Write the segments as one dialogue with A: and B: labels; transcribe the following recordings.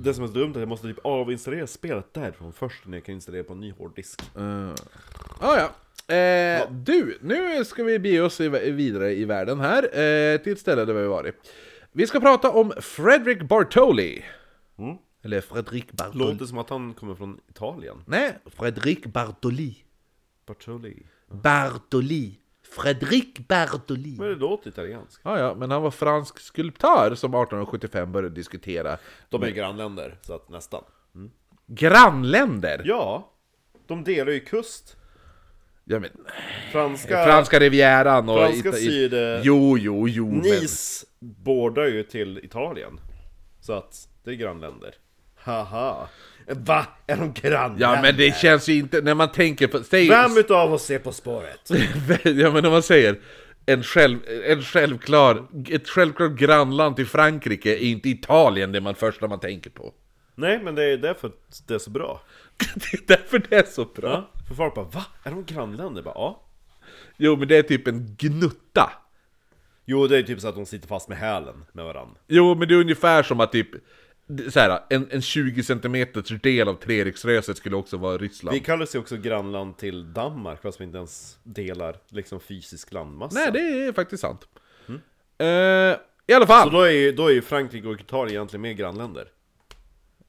A: Det som är så dumt är att jag måste typ avinstallera spelet därifrån först när jag kan installera på en ny hårddisk.
B: Ah, ja. Eh, du, nu ska vi bege oss i- vidare i världen här, eh, till ett ställe där vi har varit. Vi ska prata om Fredrik Bartoli. Eller Fredrik Bartoli.
A: Mm. Låter som att han kommer från Italien.
B: Nej, Fredrik Bartoli.
A: Bartoli.
B: Bartoli. Fredrik Bartoli.
A: Men det låter italienskt.
B: Ja, ja, men han var fransk skulptör som 1875 började diskutera
A: De är ju grannländer, så att nästan.
B: grannländer.
A: Ja, de delar ju kust.
B: Ja, men,
A: Franska...
B: franska rivieran och...
A: Franska
B: Ita- i-
A: syd-
B: Jo, jo, jo, men...
A: Nice bordar ju till Italien. Så att det är grannländer. Haha. Va? Är de grannländer?
B: Ja, men det känns ju inte... När man tänker på... Säg,
A: Vem utav oss är På spåret?
B: ja, men när man säger en, själv, en självklar, ett självklart grannland till Frankrike är inte Italien det man första man tänker på.
A: Nej, men det är därför det är så bra.
B: Det är därför det är så bra.
A: Ja. För folk bara va? Är de grannländer? Bara, ja.
B: Jo, men det är typ en gnutta.
A: Jo, det är typ så att de sitter fast med hälen med varann.
B: Jo, men det är ungefär som att typ så här, en, en 20 cm del av Treriksröset skulle också vara Ryssland.
A: Vi kallar sig också grannland till Danmark fast vi inte ens delar liksom fysisk landmassa.
B: Nej, det är faktiskt sant. Eh, I alla fall!
A: Så då är, ju, då är ju Frankrike och Italien egentligen mer grannländer.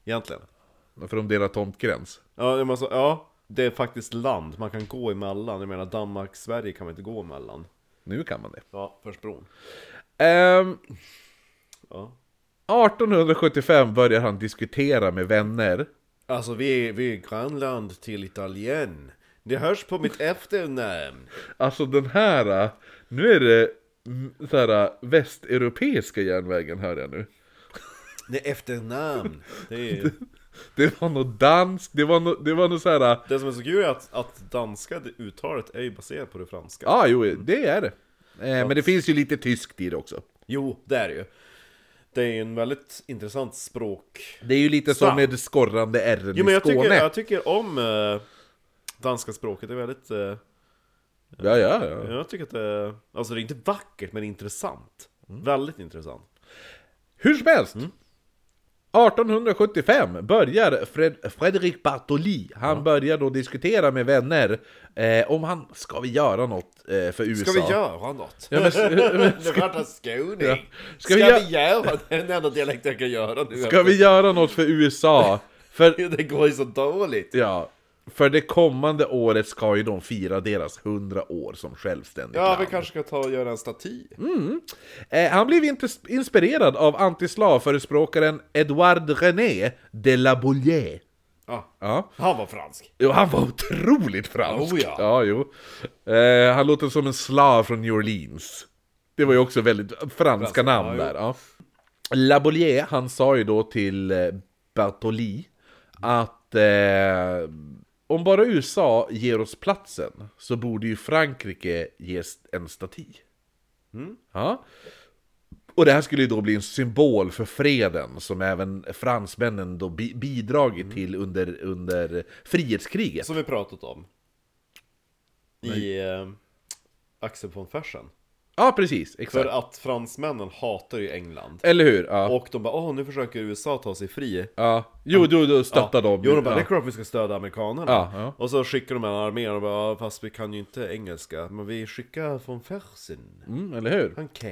A: Egentligen.
B: För de delar tomtgräns.
A: Ja, men alltså, ja, det är faktiskt land man kan gå emellan. Jag menar Danmark, Sverige kan man inte gå emellan.
B: Nu kan man det.
A: Ja, först bron.
B: Ehm,
A: Ja.
B: 1875 börjar han diskutera med vänner.
A: Alltså vi är, vi är grannland till Italien. Det hörs på mitt efternamn.
B: Alltså den här, äh, nu är det mm, så här äh, västeuropeiska järnvägen hör jag nu.
A: Det är efternamn. Det, är,
B: Det var något dansk, det var något, det var något så här. äh,
A: det som är så kul är att, att danska det uttalet är ju baserat på det franska.
B: ja jo det är det. Eh, men det finns ju lite tyskt i det också.
A: Jo, det är det ju. Det är ju en väldigt intressant språk.
B: Det är ju lite
A: Sant.
B: som med skorrande R
A: Jo, men
B: i
A: jag
B: Skåne.
A: tycker, jag tycker om eh, danska språket. Det är väldigt... eh,
B: Ja, ja, ja.
A: Jag tycker att det, alltså det är inte vackert men intressant.
B: Mm.
A: Väldigt intressant.
B: Hur som helst!
A: Mm.
B: 1875 börjar Fred, Fredrik Bartoli, han börjar då diskutera med vänner eh, om han, ska vi göra något eh, för USA?
A: Ska vi göra något?
B: Ja, men, s-
A: Det vart en skåning!
B: Ja.
A: Ska,
B: Ska vi
A: vi,
B: gö-
A: göra det? är Den enda dialekt jag kan göra nu.
B: ska vi göra något för USA? För,
A: Det går ju så dåligt!
B: ja, för det kommande året ska ju de fira deras 100 år som självständigt
A: Ja,
B: land.
A: vi kanske ska ta och göra en staty.
B: Mm. Eh, han blev inte inspirerad av antislavförespråkaren Edouard René de la Bollier.
A: Ja.
B: Ja.
A: Ah. Han var fransk.
B: Jo, han var otroligt fransk!
A: Oh, ja.
B: jo. Eh, han låter som en slav från New Orleans. Det var ju också väldigt franska namn där. Ja. Labolier, han sa ju då till eh, Bartoli att eh, om bara USA ger oss platsen så borde ju Frankrike ges en staty. Ja. Och det här skulle ju då bli en symbol för freden som även fransmännen då bi- bidragit till under, under frihetskriget.
A: Som vi pratat om. I eh, Axel von Fersen.
B: Ja, precis.
A: För
B: Exakt.
A: att fransmännen hatar ju England.
B: Eller hur? Ja.
A: Och de bara åh nu försöker USA ta sig fri.
B: ja. Jo, du, du stöttar dem.
A: Jo, de bara,
B: ja.
A: det är klart vi ska stödja amerikanerna.
B: Ja, ja.
A: Och så skickar de en armé och bara, "Ja, fast vi kan ju inte engelska, men vi skickar från Fersen.
B: Mm, eller hur?
A: Han kan.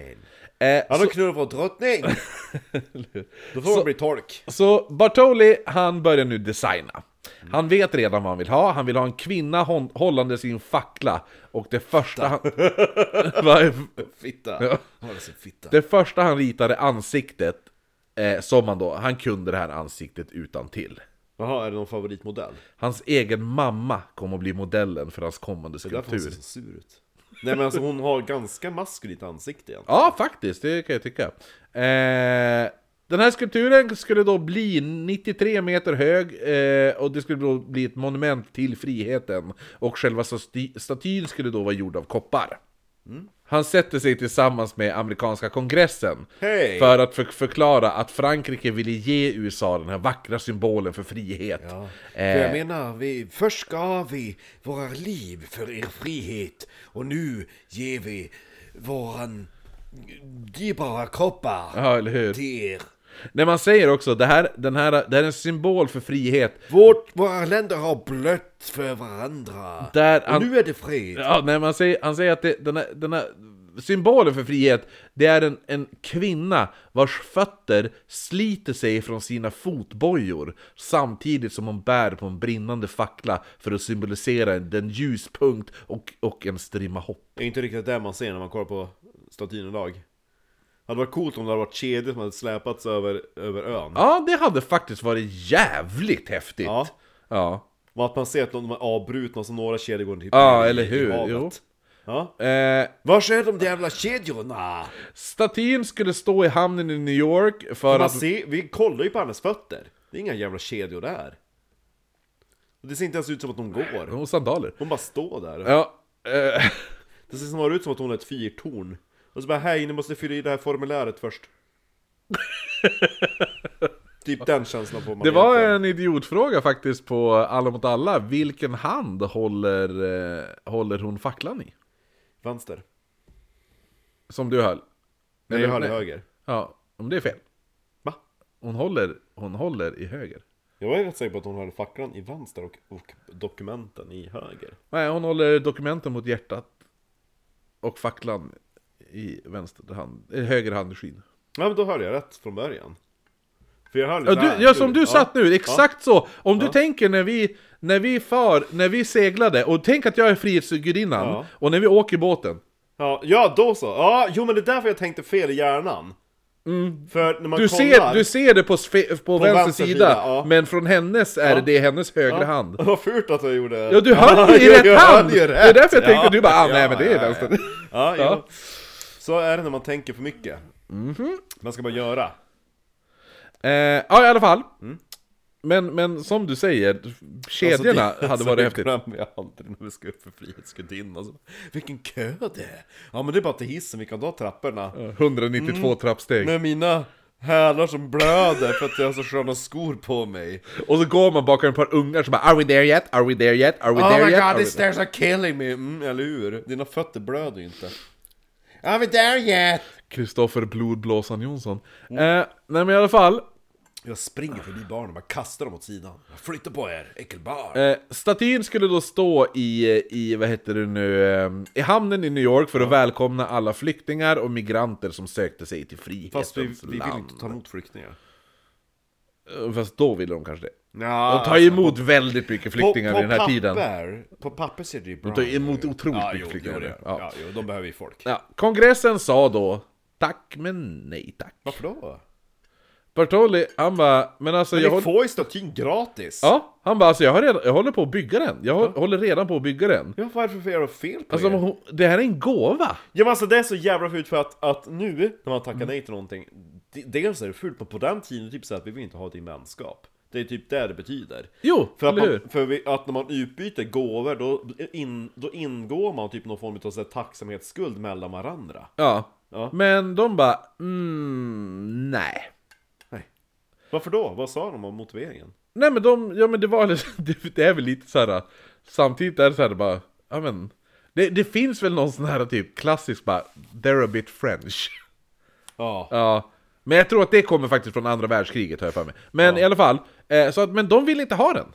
B: Eh,
A: Han
B: så,
A: har knull för drottning! Då får man bli tolk.
B: så Bartoli, han börjar nu designa. Han vet redan vad han vill ha. Han vill ha en kvinna hon, hållande sin fackla. Och det första han... Vad-
A: Fitta.
B: Ja.
A: Håller sin fitta.
B: det första han ritade ansiktet, eh, som han då... Han kunde det här ansiktet utan till.
A: Jaha, är det någon favoritmodell?
B: Hans egen mamma kommer att bli modellen för hans kommande
A: Därför hon ser så
B: skulptur.
A: sur ut. Nej men alltså hon har ganska maskulint ansikte igen.
B: Ja, faktiskt, det kan jag tycka. Eh, den här skulpturen skulle då bli 93 meter hög eh, och det skulle då bli ett monument till friheten. Och själva staty- statyn skulle då vara gjord av koppar.
A: Mm.
B: Han sätter sig tillsammans med amerikanska kongressen
A: Hej!
B: för att för- förklara att Frankrike ville ge USA den här vackra symbolen för frihet.
A: För
B: Eh,
A: jag menar, vi, först gav vi våra liv för er frihet och nu ger vi våran dyrbara kroppar
B: ja, eller hur?
A: till er.
B: När man säger också det här, den här, det här är en symbol för frihet.
A: Vårt, våra länder har blött för varandra.
B: Där
A: och
B: an-
A: nu är det fred.
B: Ja, nej, man säger, han säger att det, den, här, den här symbolen för frihet, det är en, en kvinna vars fötter sliter sig från sina fotbojor samtidigt som hon bär på en brinnande fackla för att symbolisera en- den ljuspunkt och, och en strimma hopp.
A: Det är inte riktigt det man ser när man kollar på statyn idag. Det hade varit coolt om det hade varit kedjor som hade släpats över, över ön.
B: Ja, det hade faktiskt varit jävligt häftigt!
A: Ja.
B: ja.
A: Och att man ser att de är avbrutna så några kedjor går typ
B: Ja,
A: ner
B: eller
A: i- i
B: hur?
A: havet.
B: Jo.
A: Ja.
B: Eh,
A: Var är de där jävla kedjorna?
B: statyn skulle stå i hamnen i New York för
A: Man
B: att...
A: ser, vi kollar ju på hennes fötter. Det är inga jävla kedjor där. Och det ser inte ens ut som att hon går.
B: Och sandaler.
A: Hon bara står där.
B: Ja, eh,
A: Det ser snarare ut som att hon är ett fyrtorn. Och så bara hej, ni måste fylla i det här formuläret först. typ den känslan får man.
B: Det var
A: egentligen.
B: en idiotfråga faktiskt på Alla mot alla. Vilken hand håller, eh, håller hon facklan i? eh,
A: Vänster.
B: Som du höll?
A: Nej,
B: Eller-
A: jag hörde höger.
B: Ja, om det är fel.
A: Va?
B: Hon håller, hon håller i höger.
A: Jag var ju rätt säker på att hon hade facklan i vänster och, och dokumenten i höger.
B: Nej, hon håller dokumenten mot hjärtat. Och facklan i vänster hand, eh, höger handskinn.
A: Ja, men då hörde jag rätt från början. För jag hörde
B: Ja,
A: där,
B: du, ja, som du
A: ja.
B: satt nu, exakt så! Om du tänker när vi, när vi far, när vi seglade, och tänk att jag är frihetsgudinnan,
A: Ja.
B: och när vi åker båten.
A: Ja, ja, då så. Ja, jo men det är därför jag tänkte fel i hjärnan. För när man
B: Mm. Du
A: kollar...
B: ser, du ser det på, sfe, på, vänster,
A: vänster
B: sida,
A: sida, ja.
B: men från hennes är det hennes högre
A: Ja.
B: hand.
A: Vad fult att jag gjorde det.
B: Ja, du höll ju i
A: jag
B: rätt hand!
A: hörde ju
B: Det är därför jag tänkte,
A: Ja.
B: du bara ah, nej
A: Ja,
B: men det är
A: ja,
B: vänster.
A: Ja, ja, jo.
B: Ja. Mhm.
A: Så är det när man tänker för mycket. Man ska bara göra. Alltså,
B: Eh, ja, i alla fall. Men, men som du säger,
A: Alltså,
B: kedjorna
A: Mm. det-
B: hade
A: alltså,
B: varit
A: det
B: häftigt.
A: glömmer jag aldrig när vi ska upp för Frihetsgudinnan. Alltså, vilken kö det är! Ja men det är bara till hissen, vi kan ta trapporna.
B: 192
A: Mm.
B: trappsteg.
A: Med mina hälar som blöder för att jag har så sköna skor på mig.
B: Och så går man bakom ett par ungar som bara Are we there yet? Are we there yet? Are we
A: Oh
B: there
A: my
B: yet?
A: god,
B: Are we
A: these stairs are killing me! Mm, eller hur? Dina fötter blöder ju inte. Are we there yet?
B: Kristoffer Blodblåsan Jonsson.
A: Mm.
B: Eh, nej men i alla fall.
A: Jag springer förbi barnen och bara kastar dem åt sidan. Flytta på er, äckelbarn!
B: Eh, statyn skulle då stå i, i, vad heter det nu, eh, i hamnen i New York för att välkomna alla flyktingar och migranter som sökte sig till frihetens
A: Fast vi, vi vill
B: land.
A: inte ta emot flyktingar.
B: Eh, Fast då ville de kanske det.
A: Ja,
B: De tar ju emot väldigt mycket flyktingar i den här tiden.
A: papper, På papper ser det ju bra
B: De tar emot otroligt
A: Ja, jo,
B: mycket
A: jo,
B: flyktingar.
A: det.
B: ja.
A: Ja, jo, de behöver ju folk.
B: Ja. Kongressen sa då Tack men nej tack.
A: Varför då?
B: Bertolli, han bara, men alltså jag
A: Men ni
B: håller...
A: får ju statyn gratis!
B: Ja, han bara alltså jag, har redan, jag håller på att bygga den. Jag hå- håller redan på att bygga den.
A: Ja, varför får jag då fel på
B: Alltså
A: er?
B: hon- det här är en gåva!
A: Ja men alltså det är så jävla fult för att, att nu när man tackar
B: Mm.
A: nej till någonting d- Dels är det fult, men på den tiden typ så att vi vill inte ha din vänskap Det är typ det det betyder
B: Jo,
A: För, att,
B: eller hur?
A: man, för vi, att när man utbyter gåvor då, in, då ingår man typ någon form av så här, tacksamhetsskuld mellan varandra
B: Ja.
A: Ja.
B: Men de bara, mm, nej.
A: Nej Varför då? Vad sa de om motiveringen?
B: Nej men de, ja men det var, det, det är väl lite så här. samtidigt är det så här bara, ja men. Det, det finns väl någon sån här typ klassisk bara, they're a bit French.
A: Ja,
B: Ja. Men jag tror att det kommer faktiskt från andra världskriget har jag för mig. Men i alla fall, eh, så att, men de vill inte ha den.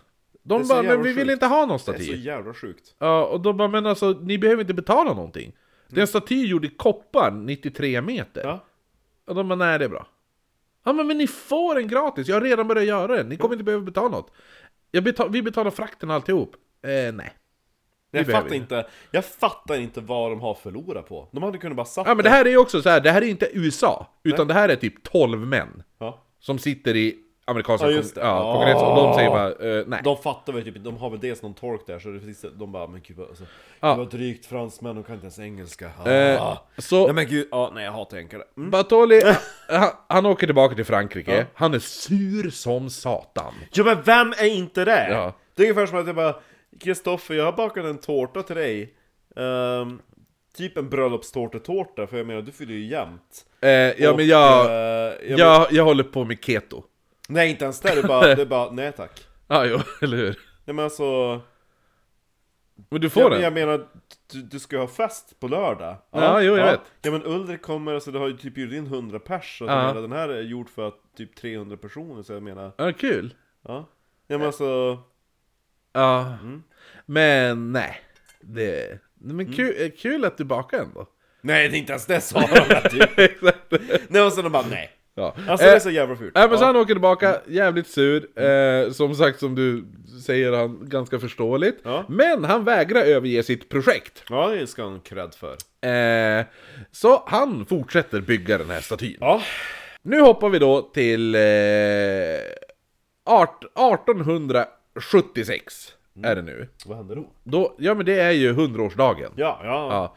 A: Det är
B: De
A: så
B: bara, men
A: jävla
B: vi vill
A: sjukt.
B: inte ha någon
A: det är så
B: staty.
A: jävla sjukt
B: Ja, och de bara, men alltså ni behöver inte betala någonting. Det är en staty gjord i koppar, 93 meter.
A: Mm. Ja,
B: Och de bara, nej det är bra. Ja men, men ni får den gratis, jag har redan börjat göra den, ni kommer inte behöva betala något. Jag betal, vi betalar frakten och alltihop. Eh, nej.
A: jag
B: behöver
A: fattar,
B: inte.
A: inte, jag fattar inte vad de har förlorat på De hade kunnat bara satt
B: Ja men det här är ju också så här, det här är inte USA, utan det här är typ 12 män.
A: Ja.
B: Som sitter i amerikanska
A: Ja,
B: ja,
A: just det.
B: ja, kongressen och de säger bara, eh, nej.
A: De fattar väl typ de har väl dels någon tolk där så det finns, de bara men gud vad- alltså,
B: Ja.
A: det var drygt fransmän, de kan inte ens engelska. Ah.
B: Eh, så-
A: Nej men gud, ja, nej jag hatar enkare. Mm.
B: Bartoli, han, han åker tillbaka till Frankrike, han är sur som satan.
A: Ja men vem är inte det?
B: Ja.
A: Det är ungefär som att jag bara Kristoffer, jag har bakat en tårta till dig. Ehm, typ en bröllopstårtetårta, för jag menar du fyller ju jämnt.
B: Eh, ja,
A: Och,
B: men jag,
A: eh, jag
B: jag, jag håller på med keto.
A: Nej inte ens det, det är bara, det är bara nej tack.
B: Ja, jo, eller hur?
A: Nej men alltså,
B: Men du får
A: jag,
B: den.
A: jag menar, du, du ska ju ha fest på lördag.
B: Ja, jo, jag vet.
A: Ja men Ulrik kommer, alltså du har ju typ bjudit in 100 pers, och
B: Ja.
A: ja. den här är gjord för att typ 300 personer, så jag menar,
B: Ja, kul.
A: ja. Ja men alltså,
B: Ja. Men nej. Det, men kul, eh, kul att du bakar ändå.
A: nej det är inte ens det sa de typ.
B: Exakt.
A: Nej och sen de bara nej.
B: Ja.
A: Alltså
B: Eh,
A: det är så jävla fult.
B: Nej men så han åker tillbaka, jävligt sur. Eh, som sagt, som du säger, han ganska förståeligt.
A: Ja.
B: Men han vägrar överge sitt projekt.
A: Ja det ska han cred för.
B: Eh, så han fortsätter bygga den här statyn.
A: Ja.
B: Nu hoppar vi då till eh, art, 1876.
A: Mm.
B: Är det nu.
A: Vad händer då?
B: Då, ja men det är ju hundraårsdagen.
A: Ja, ja.
B: Ja.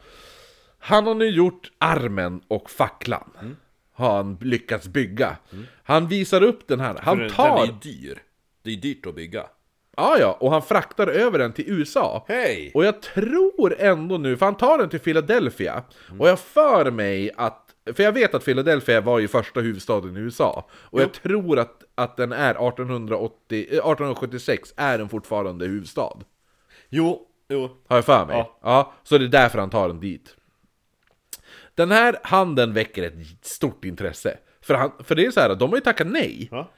B: Han har nu gjort armen och facklan.
A: Mm.
B: Har han lyckats bygga. Han visar upp den här.
A: För
B: Han tar...
A: Den är ju dyr. Det är dyrt att bygga.
B: Ja, ja, och han fraktar över den till USA.
A: Hej!
B: Och jag tror ändå nu, för han tar den till Philadelphia. Och jag för mig att... För jag vet att Philadelphia var ju första huvudstaden i USA. Och jag tror att, att den är 1880, eh, 1876 är den fortfarande huvudstad.
A: Jo, jo.
B: Har jag för mig? Ja.
A: Ja.
B: Så det är därför han tar den dit. Den här handen väcker ett stort intresse. För, han, för det är så här, de har ju tackat nej.
A: Ja.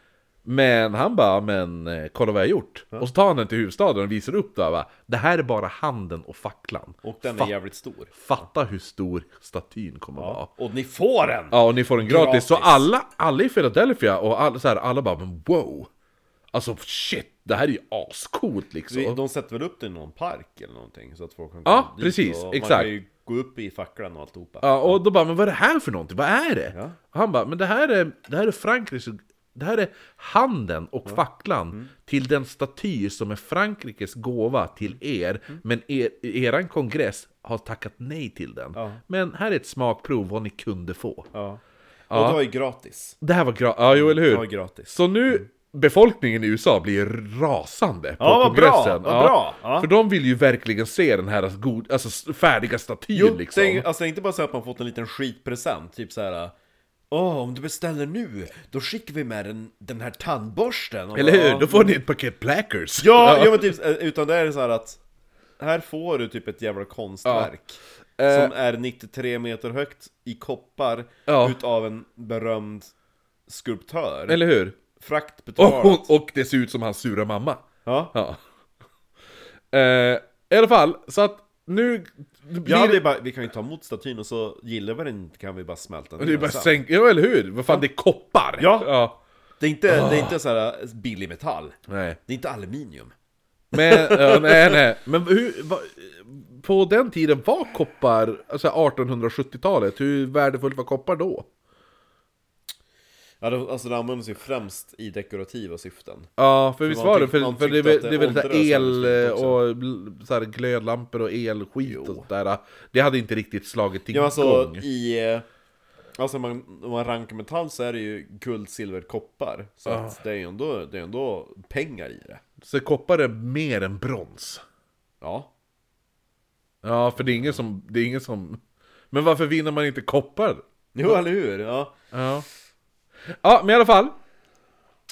B: Men han bara, men eh, kolla vad jag har gjort. Och så tar han den till huvudstaden och visar upp det och bara, Det här är bara handen och facklan.
A: Och den
B: Fa-
A: är jävligt stor.
B: Fatta hur stor statyn kommer att vara.
A: Och ni får den!
B: Ja, och ni får den gratis.
A: Gratis.
B: Så alla, alla i Philadelphia och all, så här, alla bara, men wow. Alltså shit, det här är ju ascoolt liksom.
A: Vi- De sätter väl upp den i någon park eller någonting så att folk kan
B: Ja,
A: komma dit
B: precis,
A: och Man
B: exakt.
A: kan ju gå upp i facklan och alltihopa.
B: Ja, och då bara, men vad är det här för någonting? Vad är det? Och han bara, men det här är, det här är Frankrikes, det här är handen och facklan
A: Mm.
B: till den staty som är Frankrikes gåva till
A: Mm.
B: er, men er, eran kongress har tackat nej till den. Men här är ett smakprov vad ni kunde få.
A: Ja. Och det var ju gratis.
B: Det här var gratis, ja jo eller hur?
A: Det var gratis. Mm.
B: Så nu, befolkningen i USA blir rasande på
A: Ja, vad bra,
B: kongressen.
A: vad bra, ja.
B: För de vill ju verkligen se den här god, alltså, s- färdiga statyn
A: Jo,
B: liksom.
A: det är, ju- alltså det är inte bara så att man fått en liten skitpresent, typ så här. Åh, om du beställer nu, då skickar vi med den, den här tandborsten. Och
B: Eller
A: bara,
B: hur?
A: "Ja."
B: Då får ni ett paket plackers!
A: Ja, ja. men typ, eh, utan det är så här att här får du typ ett jävla konstverk som är 93 meter högt i koppar
B: Eh. Ja.
A: utav en berömd skulptör.
B: Eller hur?
A: Frakt
B: Och,
A: betalat.
B: och, och det ser ut som hans sura mamma.
A: ja.
B: Ja. Eh, I alla fall, så att nu... Det blir,
A: Ja, det är bara, vi kan ju ta emot statyn och så gillar vi den inte kan vi bara smälta
B: det är
A: ner
B: bara
A: sen.
B: sänk... Ja, eller hur? Vad fan, det är koppar!
A: Ja. Det är inte, det är
B: Ah.
A: inte så här eh, billig metall.
B: Nej.
A: Det är inte aluminium.
B: Men, ja, nej, nej. Men hur... Va, på den tiden var koppar, alltså 1870-talet, hur värdefullt var koppar då?
A: Ja, det, alltså det används ju främst i dekorativa syften.
B: Ja, för visst
A: man
B: var det?
A: tyck-
B: För,
A: man
B: för det, är
A: tyckte
B: väl-
A: typ att det
B: det är väl så här
A: åldrades väldigt fort
B: el
A: också.
B: och bl- så här glödlampor och elskit och sånt där. Det hade inte riktigt slagit igång.
A: Ja, alltså i... eh, Alltså man, om man rankar metall så är det ju guld, silver, koppar. Så
B: Ah.
A: att det är ju ändå, det är ändå pengar i det.
B: Så koppar är mer än brons.
A: Ja.
B: Ja, för det är ingen som... Det är ingen som... Men varför vinner man inte koppar?
A: Jo, eller hur? Ja.
B: Ja. Ja, men i alla fall.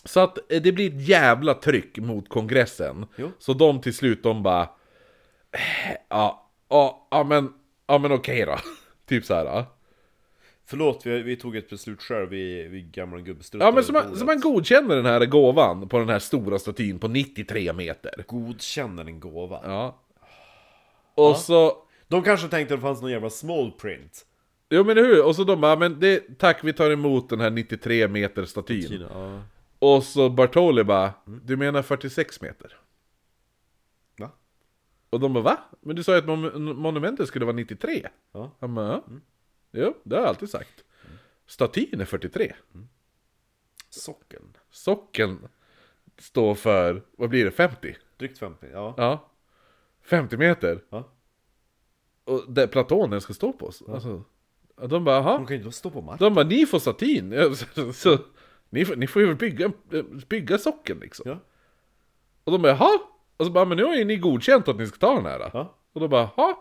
B: Så att eh, det blir ett jävla tryck mot kongressen.
A: Jo.
B: Så de till slut, de bara... eh, Ja, ja, ja men... Ja, men okej då. Typ så här. Ja.
A: Förlåt, vi, vi tog ett beslut själv, vi, vi gamla gubbstruttar.
B: Ja men så
A: över
B: man,
A: bordet.
B: så man godkänner den här gåvan på den här stora statyn på 93 meter.
A: godkänner en gåva.
B: Ja. Och så...
A: De kanske tänkte att det fanns någon jävla small print.
B: Jo men hur? Och så de bara, men det, tack vi tar emot den här 93 meter statyn.
A: Ja.
B: Och så Bartoli bara, du menar 46 meter?
A: Va?
B: Och de bara, va? Men du sa ju att mon- monumentet skulle vara 93.
A: Ja.
B: Han bara, ja. Jo, det har jag alltid sagt. Statyn är 43.
A: Socken.
B: Socken står för, vad blir det, 50?
A: Drygt 50, ja.
B: Ja. 50 meter.
A: Ja.
B: Och där platonen ska stå på. Alltså, de bara,
A: De
B: jaha.
A: kan ju inte stå på marken.
B: De bara, ni får statyn. Ja, Så, så, ni, får, ni får ju bygga, bygga socken liksom.
A: Ja.
B: Och de bara, jaha. Och så bara, men nu har ju ni godkänt att ni ska ta den här.
A: Ja.
B: Och de bara, jaha.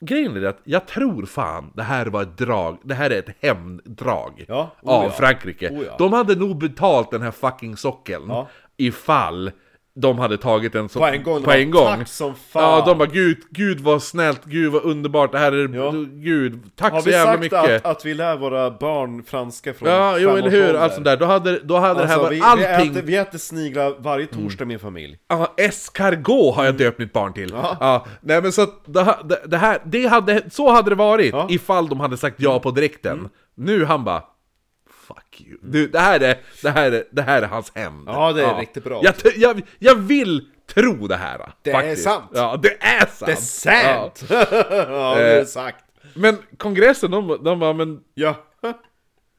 B: grejen är det att jag tror fan det här var ett drag, det här är ett hämnddrag
A: Ja, oh
B: av
A: ja.
B: Frankrike.
A: Oh ja.
B: De hade nog betalt den här fucking sockeln
A: Ja.
B: ifall de hade tagit den som,
A: På en gång, de
B: På
A: bara,
B: en gång.
A: "Tack som fan."
B: Ja, de bara gud, gud vad snällt, gud vad underbart, det här är,
A: Ja.
B: gud, tack
A: Har
B: så
A: vi
B: jävla
A: sagt
B: mycket.
A: att, att vi lär våra barn franska från
B: Ja, jo
A: fem
B: eller
A: års
B: hur,
A: ålder?
B: allt sånt där. Då hade, då hade det här
A: Alltså,
B: varit
A: vi,
B: allting... Mm.
A: vi, äter, vi äter sniglar varje torsdag i min familj.
B: Ja, escargot har jag döpt mitt barn till. Ja. nej men så att det, ha- det, det här, det hade, så hade det varit
A: Ja. Mm.
B: ifall de hade sagt ja på direkten. Nu han bara, fuck you. Du, det här är, det här är, det här är hans hämnd.
A: Ja, det är riktigt bra.
B: Jag, t- jag, jag vill tro det här.
A: Det är
B: faktiskt.
A: sant.
B: Ja, det är sant. Eh.
A: Det är sant! Ja, det är sagt.
B: Ja. Men kongressen, de, de bara, men
A: Ja,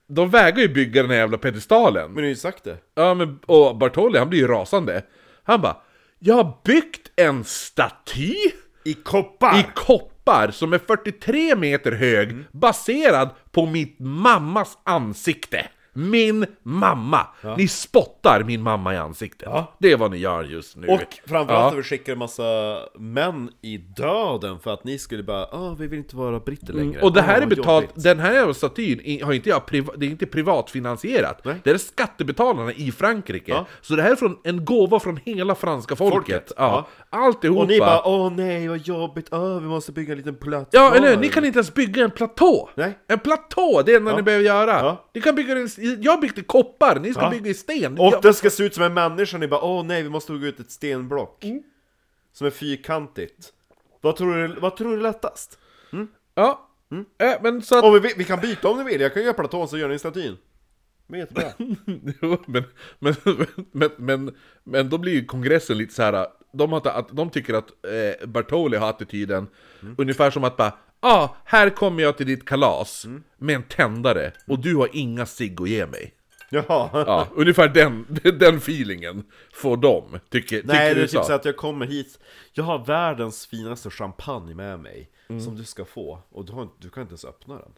B: de vägrar ju bygga den här jävla pedestalen.
A: men du har ju sagt det.
B: Ja, men, och Bartoli han blir ju rasande. Han bara Jag har byggt en staty
A: I koppar!
B: i koppar som är 43 meter hög
A: Mm.
B: baserad på mitt mammas ansikte. Min mamma! Ni spottar min mamma i ansiktet. Det är vad ni gör just nu.
A: och framförallt
B: Ja.
A: att vi skickar en massa män i döden för att ni skulle bara ah, vi vill inte vara britter längre.
B: Mm, Och det här
A: Ah,
B: är betalt,
A: jobbigt.
B: den här jävla statyn i- har inte jag priva, det är inte privatfinansierat.
A: Nej.
B: Det är skattebetalarna i Frankrike.
A: Ja.
B: Så det här är från en gåva från hela franska folket.
A: Folket,
B: Ja. Alltihopa.
A: Och ni bara åh nej vad jobbigt, ah, vi måste bygga en liten platt
B: Ja, eller hur? Ni kan inte ens bygga en platå!
A: Nej.
B: En platå, det är det enda ni behöver göra!
A: Ja.
B: Ni kan bygga den, i- jag byggde i koppar, ni ska
A: Ja.
B: bygga i sten!
A: Och
B: ja.
A: det ska se ut som en människa, ni bara åh nej vi måste hugga ut ett stenblock
B: Mm.
A: Som är fyrkantigt Vad tror du, vad tror du är lättast?
B: ja. Äh, men så att...
A: Om vi, vi kan byta om ni vill, jag kan göra platån så gör ni statyn Men jättebra
B: Jo, men, men, men, men, men då blir ju kongressen lite så här. De, har, inte- att, de tycker att eh, Bartoli har attityden ungefär som att bara Ja, ah, här kommer jag till ditt kalas med en tändare och du har inga cigg att ge mig.
A: Jaha
B: Ja, ungefär den, den feelingen får de, tycker,
A: Nej
B: tycker
A: det är
B: USA.
A: typ så att jag kommer hit Jag har världens finaste champagne med mig
B: Mm.
A: Som du ska få, och du, har, inte- du kan inte ens öppna den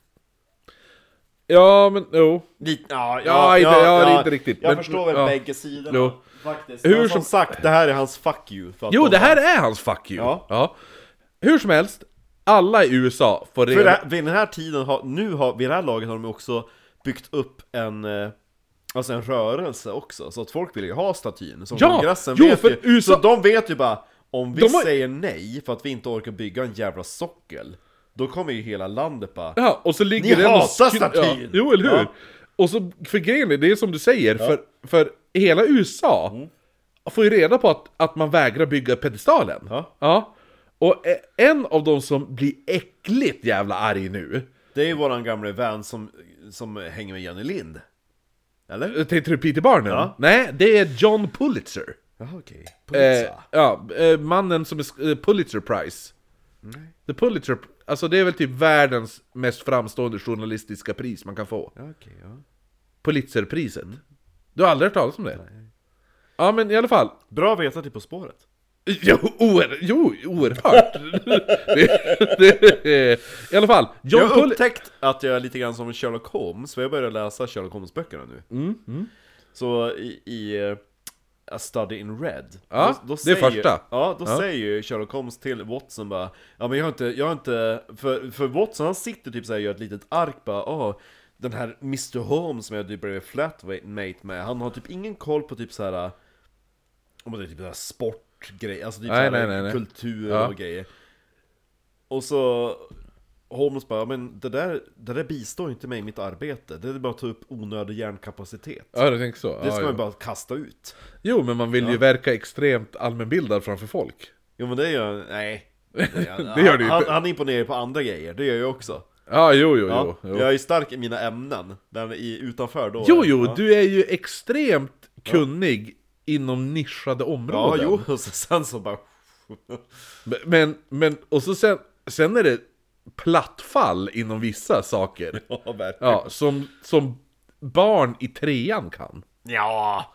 B: Ja, men jo.
A: Lite, ja,
B: Ja, inte- ja, det är inte riktigt,
A: Jag
B: men-
A: förstår väl
B: ja.
A: bägge sidorna
B: Jo.
A: faktiskt
B: Hur
A: Men som
B: som-
A: sagt, det här är hans fuck you för att
B: Jo,
A: de-
B: det här är hans fuck you!
A: Ja.
B: Hur som helst, alla i USA får
A: För
B: reda...
A: det här, vid den här tiden, har, nu har, vid det här laget har de också byggt upp en, eh, alltså en rörelse också, så att folk vill ju ha statyn, som
B: Ja,
A: kongressen
B: jo,
A: vet
B: för
A: ju,
B: USA
A: så de vet ju bara om vi
B: De har-
A: säger nej för att vi inte orkar bygga en jävla sockel, då kommer ju hela landet bara
B: Ja, och så
A: Ni
B: ligger den och
A: hatar
B: skru-
A: statyn!
B: Ja, jo, eller hur?
A: Ja.
B: Och så, för grejen är, det är som du säger, för, för hela USA
A: Mm.
B: får ju reda på att, att man vägrar bygga pedestalen.
A: Ja.
B: Och eh, en av de som blir äckligt jävla arg nu,
A: Det är ju våran gamla vän som, som hänger med Jenny Lind Eller?
B: tänkte du eh, Peter Barnum?
A: Ja.
B: Nej, det är John Pulitzer.
A: Jaha okej,
B: Eh,
A: Pulitzer.
B: ja, eh, mannen som är sk- eh, Pulitzer Prize. The Pulitzer, alltså det är väl typ världens mest framstående journalistiska pris man kan få.
A: Ja, okej, ja.
B: Pulitzerpriset. Du har aldrig hört talas om det? Ja men i alla fall.
A: Bra att veta till På spåret
B: Jo, oer, jo oerhört! det, det, I alla fall, John
A: Jag har
B: Pul-
A: upptäckt att jag är lite grann som Sherlock Holmes, för jag började läsa Sherlock Holmes-böckerna nu.
B: Mm,
A: Så i, i eh, A Study in Red,
B: Ja, det är
A: säger,
B: första.
A: Ja, då
B: Ja.
A: säger ju Sherlock Holmes till Watson bara Ja men jag har inte, jag har inte, för, för Watson han sitter typ såhär och gör ett litet ark bara ah, den här Mr Holmes som jag typ blev flatmate med, han har typ ingen koll på typ såhär Om det är typ såhär sportgrejer, alltså typ
B: Nej,
A: såhär
B: nej, nej, nej.
A: kultur
B: Ja.
A: och grejer och så Holmes bara, men det där, det där bistår inte mig i mitt arbete. Det är bara att ta upp onödig hjärnkapacitet.
B: Ja, du tänker så.
A: Det
B: Ja,
A: ska
B: jo.
A: man bara kasta ut.
B: jo, men man vill ju verka extremt allmänbildad framför folk.
A: Jo men det gör nej.
B: Det gör det ju
A: han,
B: inte.
A: han imponerar på andra grejer, det gör jag också.
B: Ja, jo, jo,
A: Ja,
B: jo. jo.
A: Jag är ju stark i mina ämnen, där i, utanför då.
B: Jo, jo,
A: ja.
B: du är ju extremt kunnig inom nischade områden.
A: Ja, jo, och så, sen så bara...
B: Men, men, och så sen, sen är det plattfall inom vissa saker.
A: Ja, verkligen.
B: Ja, som, som barn i trean kan.
A: Ja.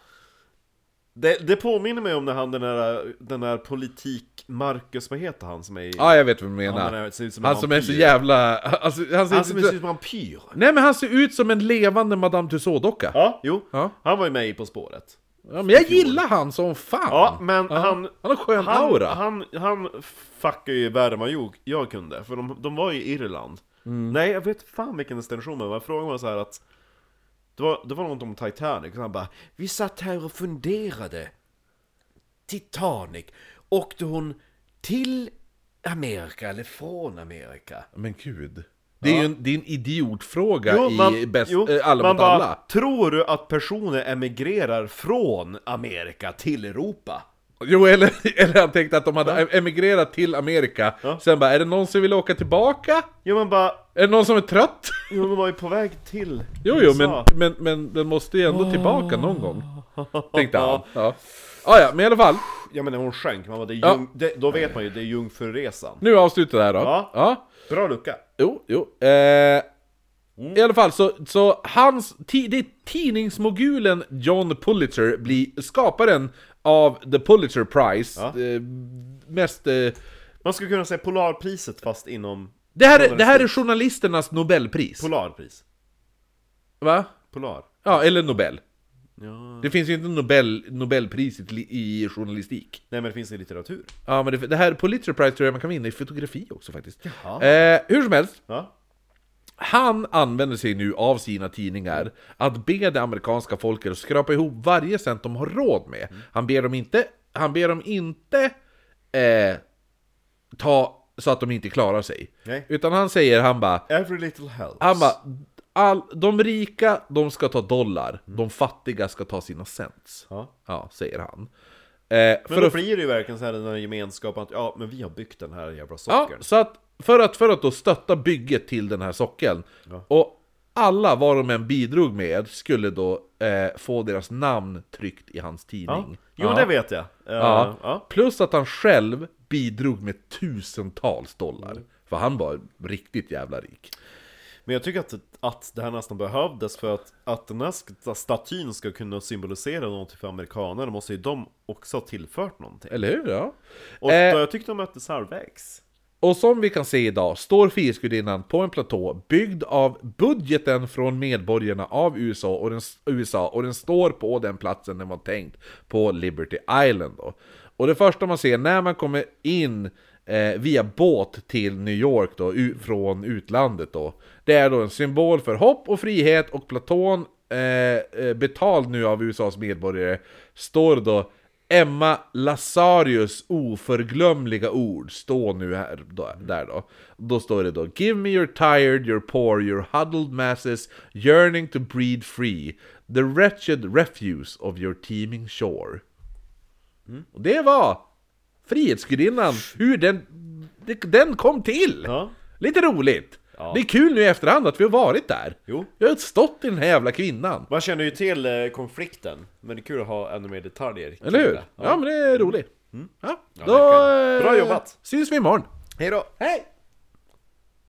A: Det, det påminner mig om när han den där, den där politik... Marcus, vad heter han som är i...
B: Ja, jag vet vad du
A: Ja, men
B: menar.
A: han ser ut som en
B: Han som är så
A: vampyr.
B: jävla... Alltså, han ser,
A: Han som
B: ut
A: ser ut
B: som...
A: som en vampyr.
B: Nej men han ser ut som en levande Madame Tussauds-docka.
A: Ja, jo.
B: Ja.
A: Han var ju med i På spåret.
B: Ja, men jag gillar han som fan!
A: Ja, men han-
B: Han har skön aura!
A: Han, han, han fuckade ju värre än vad jag, jag kunde, för de, de var ju i Irland. Nej, jag vet fan vilken destination det var. Frågan var så här att... Det var, det var något om Titanic, och han bara Vi satt här och funderade. Titanic. Åkte hon till Amerika eller från Amerika?
B: Men gud. Det är ju en, det är en idiotfråga i bäst,
A: jo,
B: eh, alla
A: man
B: mot
A: bara,
B: alla.
A: Tror du att personer emigrerar från Amerika till Europa?
B: Jo, eller, eller han tänkte att de hade emigrerat till Amerika.
A: Ja.
B: Sen bara, är det någon som vill åka tillbaka?
A: Jo men bara,
B: Är det någon som är trött?
A: jo, de var ju på väg till
B: Jo, jo, men,
A: USA.
B: men, men den måste ju
A: Ah.
B: ändå tillbaka någon gång. Tänkte han. Ja. Ah, ja, men i alla fall.
A: Ja men när hon sjönk, man bara, det är
B: Ja.
A: ljung, det, då vet man ju, det är Jungfruresan.
B: Nu avslutar det här då.
A: Ja.
B: ja.
A: Bra lucka!
B: Jo, jo. Eh,
A: Mm.
B: I alla fall så, så hans, ti, det är tidningsmogulen John Pulitzer blir skaparen av The Pulitzer Prize.
A: Ja.
B: Eh, mest... Eh,
A: Man skulle kunna säga Polarpriset fast inom
B: det, här, är- det här är journalisternas Nobelpris.
A: Polarpris.
B: Va?
A: Polar.
B: Ja, eller Nobel.
A: Ja.
B: Det finns ju inte Nobel, Nobelpriset i, i journalistik.
A: Nej men det finns i litteratur.
B: Ja, men det, det här Pulitzer Prize tror jag man kan vinna i fotografi också faktiskt.
A: Jaha.
B: Eh, hur som helst,
A: Ja.
B: Han använder sig nu av sina tidningar att be det amerikanska folket att skrapa ihop varje cent de har råd med.
A: Mm.
B: Han ber dem inte, han ber dem inte eh, ta så att de inte klarar sig.
A: Nej.
B: Utan han säger, han bara,
A: Every little helps.
B: han bara, all, de rika de ska ta dollar, de fattiga ska ta sina cents.
A: Mm. Ja.
B: Ja, säger han. Eh,
A: Men
B: för
A: då
B: att-
A: blir det ju verkligen så här den här gemenskapen att ja, men vi har byggt den här jävla
B: Ja,
A: sockern.
B: så att för att, för att då stötta bygget till den här sockeln och alla vad de än bidrog med skulle då eh, få deras namn tryckt i hans tidning.
A: Jo
B: Ja.
A: det vet jag. Eh,
B: Ja.
A: ja.
B: Plus att han själv bidrog med tusentals dollar.
A: Mm.
B: För han var riktigt jävla rik.
A: Men jag tycker att, att det här nästan behövdes för att, att den här sk- statyn ska kunna symbolisera någonting för amerikaner måste ju de också ha tillfört någonting.
B: Eller hur? Ja.
A: Och då,
B: Eh.
A: jag tyckte de möttes halvvägs.
B: Och som vi kan se idag står Frihetsgudinnan på en platå byggd av budgeten från medborgarna av USA och den, USA, och den står på den platsen den var tänkt, på Liberty Island. Då. Och det första man ser när man kommer in eh, via båt till New York då, u- från utlandet då, det är då en symbol för hopp och frihet och platån, eh, eh, betald nu av USAs medborgare, står då Emma Lazarius oförglömliga ord står nu här, då, där då. Då står det då Give me your tired, your poor, your huddled masses yearning to breed free The wretched refuse of your teeming shore
A: Mm.
B: Och det var Frihetsgudinnan, hur den, det- den kom till!
A: Ja.
B: Lite roligt!
A: Ja.
B: Det är kul nu i efterhand att vi har varit där!
A: Jo.
B: Jag har stått i den här jävla kvinnan!
A: Man känner ju till eh, konflikten, men det är kul att ha ännu mer detaljer. kring
B: Eller hur?
A: det.
B: Ja, men det är roligt. Ja, då
A: Mm. verkligen. Bra
B: eh,
A: jobbat.
B: syns vi imorgon.
A: Hej då!
B: Hej!